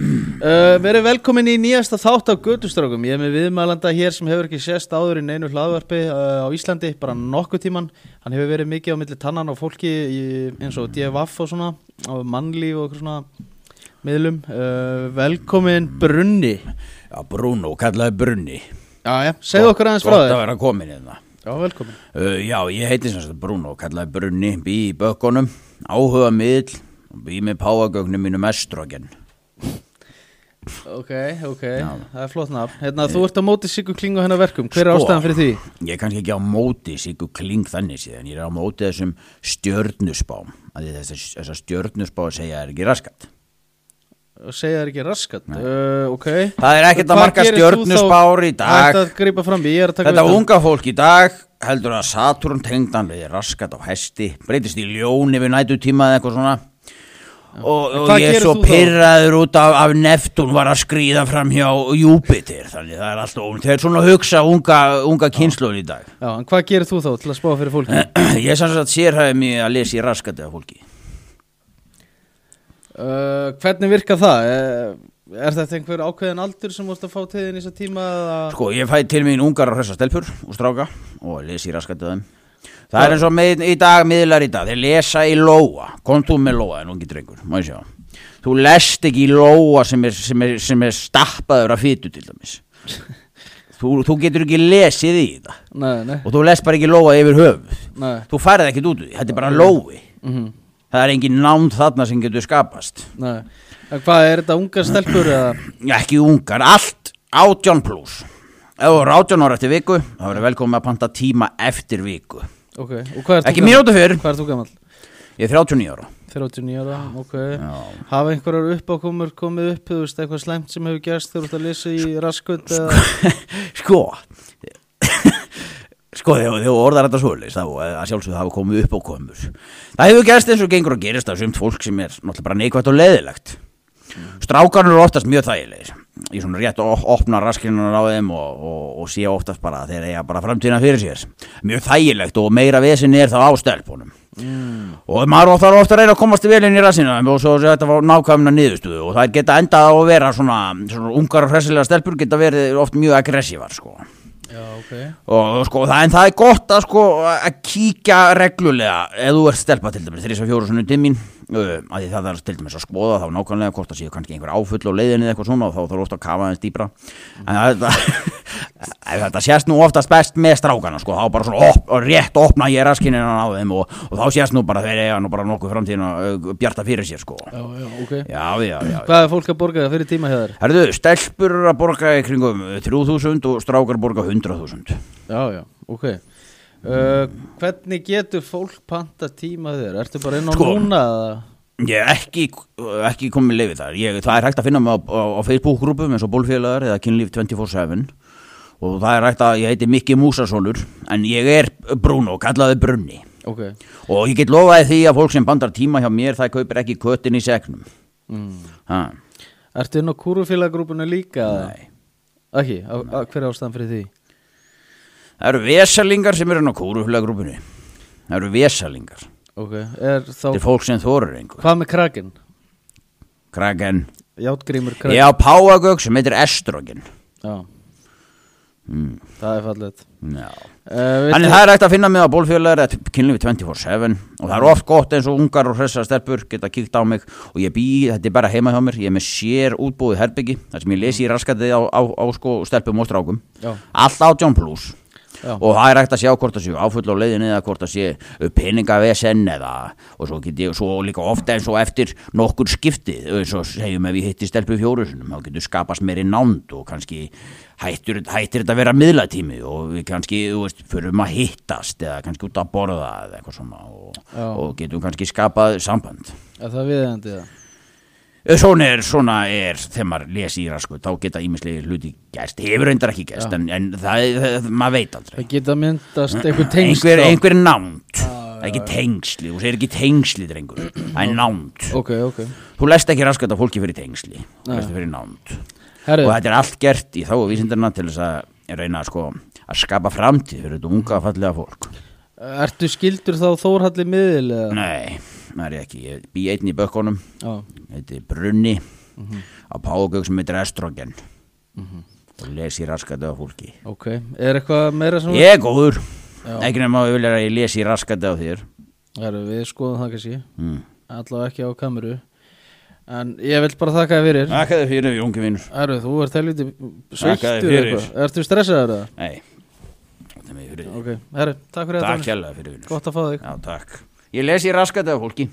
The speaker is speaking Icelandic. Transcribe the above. Uh, verið velkomin í nýjasta þátt af Götustrákum Ég er með viðmælanda hér sem hefur ekki sést áður í neinu hlaðvarpi uh, á Íslandi bara nokkuð tíman Hann hefur verið mikið á milli tannan á fólki í, eins og DFF og svona á mannlíf og eitthvað svona miðlum uh, Velkomin Brunni Já, Bruno, kallaði Brunni Já, já, segðu okkur aðeins frá Gott að þér vera komin hérna Já, velkomin uh, Já, ég heiti sem sagt Bruno, kallaði Brunni Bý í bökkunum, áhuga miðl og Bý með páagögnum mínum estrogen Ok, ok, það er flott nafn Hérna, þú ert á móti Sigur Kling og hennar verkum Hver er Sko. ástæðan fyrir því? Ég er kannski ekki á móti síku kling þannig síðan Ég er á móti þessum stjörnusbám að því þessar þessa stjörnusbá segja er ekki raskat og segja þér ekki raskat uh, okay. Það er ekkert að Hvað marka gerir þú þá- stjörnuspár í dag? Hætt að grípa fram í, ég er að taka um. Þetta viðtal. unga fólk í dag heldur að Saturn tengdan við raskat á hesti, breytist í ljón yfir nætutíma eða eitthvað svona og, og hvað ég gerir er svo þú þá? pyrraður út af, af Neptún var að skríða fram hjá Júpiter, þannig það er alltaf ón þegar svona að hugsa unga, unga kynsluður í dag Já, en hvað gerir þú þá til að spá fyrir fólki? Ég sanns að sérhæði mig að lesa í raskat eða fólki uh, hvernig virkar það? Uh, er þetta einhver ákveðin aldur sem vorst að fá til þín í þessa tíma? Eða... Sko, ég fæ til mín ungar og hressa stelpur og stráka og les í raskatöðum. Það er eins og með, í dag, miðlar í dag, þeir lesa í lóa, kom þú með lóa en ungi drengur, má ég sjá. Þú lest ekki í lóa sem er, sem er, sem er stappaður af fytu til dæmis. Þú, þú getur ekki lesið í þetta Nei, nei, og þú lest bara ekki lóa yfir höfuð. nei. Þú færið ekkert út úr því, þetta er bara lói. Mm Það er engin nánd þarna sem getur skapast. nei. En hvað, er þetta ungar stelpur? Eða? ekki ungar, allt átján pluss ef þú eru átján ára eftir viku þá verður velkomin að panta tíma eftir viku Ok, og hvað er ekki mínútu fyrr, Hvað er þú gamall? ég er 39 ára 39 ára, ok. Já. Hafa einhverjar uppákomur komið upp, þú veist, eitthvað slæmt sem hefur gerst þegar þú ert að lesa í raskut? Eða... sko sko þegar þegar þú orðar þetta svoleiðis þá eh, að sjálfsögðu hafa komið upp á komur það hefur gerst eins og gengur og gerist af sumt fólk sem er náttúrulega bara neikvægt og leðilegt strákarnir eru oftast mjög þægilegir ég svona rétt og opna raskinunar á þeim og, og, og sé oftast bara að þeir eiga bara framtíðina fyrir sér mjög þægilegt og meira vesinni er þá á stelpunum og maður þarf ofta að reyna að komast vel inn í rassina og svo sé þetta var nákvæmna niðurstöðu og það geta endað á að vera svona, svona ungar og hressilega stelpur geta verið oft mjög aggressívar sko. Já, ok. og sko það, en það er gott að sko að kíkja reglulega ef þú ert stelpa til dæmis þrís og fjóru sunnum dimmin uh, að því það er til dæmis að skoða þá nákvæmlega hvort það séu kannski einhver áfull og leiðinni eða eitthvað svona og þá þarf ofta að kafa aðeins dýbra en þetta, en þetta sést nú oftast best með strákana sko þá bara svona op, og rétt opna ég raskinnina á þeim og, og þá sést nú bara þeir eiga nú bara nokkuð framtíðina uh, bjarta fyrir sér sko Já, já, ok. já já já, já. Hvað er fólk að borga það fyrir tíma hjá þér? Herðu, stelpur eru að borga í kringum 3000 og strákar borga 100.000 Já, já, ok uh, Hvernig getur fólk panta tíma þér? Ertu bara inn á Sko. núna? eða? Ég er ekki, ekki komið leifið þar ég, Það er hægt að finna mig á, á, á Facebook-grúpum eins og Bólfélagar eða Kynlíf 24-7 og það er hægt að ég heiti Mikki Músasonur en ég er Bruno, kallaði Brunni Ok, og ég get lofaði því að fólk sem bandar tíma hjá mér það kaupir ekki köttin í segnum mm. ha, Ertu inn á kúrufélaggrúpuna líka? Nei Ekki, á, á, hver er ástæðan fyrir því? Það eru vesalingar sem eru inn á kúrufélagrúpunni Það eru vesalingar Ok, er þá Þetta er fólk sem þorir einhver Hvað með kraken? Kraken Játgrímur kraken Ég á páagögg sem heitir estrogen Já. Það er fallet Já uh, Þannig það Mm. er hægt að finna mig á bólfjölar eða kynlífi 24-7 og það er oft gott eins og ungar og hressa stelpur geta kíkt á mig og ég bý, þetta er bara heima hjá mér, ég er með sér útbúið herbyggi þar sem ég lesi í raskatið á, á, á sko stelpum og strákum, Já. allt átján pluss Já. og það er hægt að sjá hvort það séu áfull á leiðinni eða hvort það séu peningavesen eða og svo get ég svo líka ofta eins og eftir nokkur skiptið, eins og segjum ef ég hitti stelpu fjórusunum, þá getur skapast meiri nánd og kannski hættur, hættir þetta að vera miðlatími og við kannski, þú veist, förum að hittast eða kannski út að borða eða eitthvað svona og, Já. og getum kannski skapað samband. er það viðeigandi það? Eh, Svona er, svona er, þegar maður lesi í rasku, þá geta ímislegi hluti gæst, hefur reyndar ekki gæst, en, en það, það, maður veit aldrei Það geta myndast einhver tengst einhver, Ah, þá. einhver nánd það er ekki tengsli, þú segir ekki tengsli drengur, það er nánd Ok, ok þú lest ekki raskat að fólki fyrir tengsli þú lest fyrir nánd Herru, og þetta er allt gert í þá og vísindarna til þess að reyna að sko að skapa framtíð fyrir þetta unga og fallega fólk ertu skildur þá Þórhalli miðil? eða? nei, það er ég ekki, ég bý einn í bökkunum Já, heiti Brunni á páðugögg sem heitir estrogen Mhm. og lesi raskandi á fólki Ok, er eitthvað meira sem ég er góður, Já. ekki nema að við vilja að ég lesi raskandi á þér Heru, Við skoðum það kannski mm. Allavega ekki á kameru En ég vil bara þakka þér fyrir Þakka þér fyrir, ungi vinnur Heru, Þú ert helviti Þakka þér sveittur fyrir. eitthvað Ertu stressaður það? Nei, þetta er mér fyrir Ok, herru, takk fyrir þetta Takk Hannes. hérlega fyrir vinnur Gott að fá þig Já, takk Ég lesi raskandi á fólki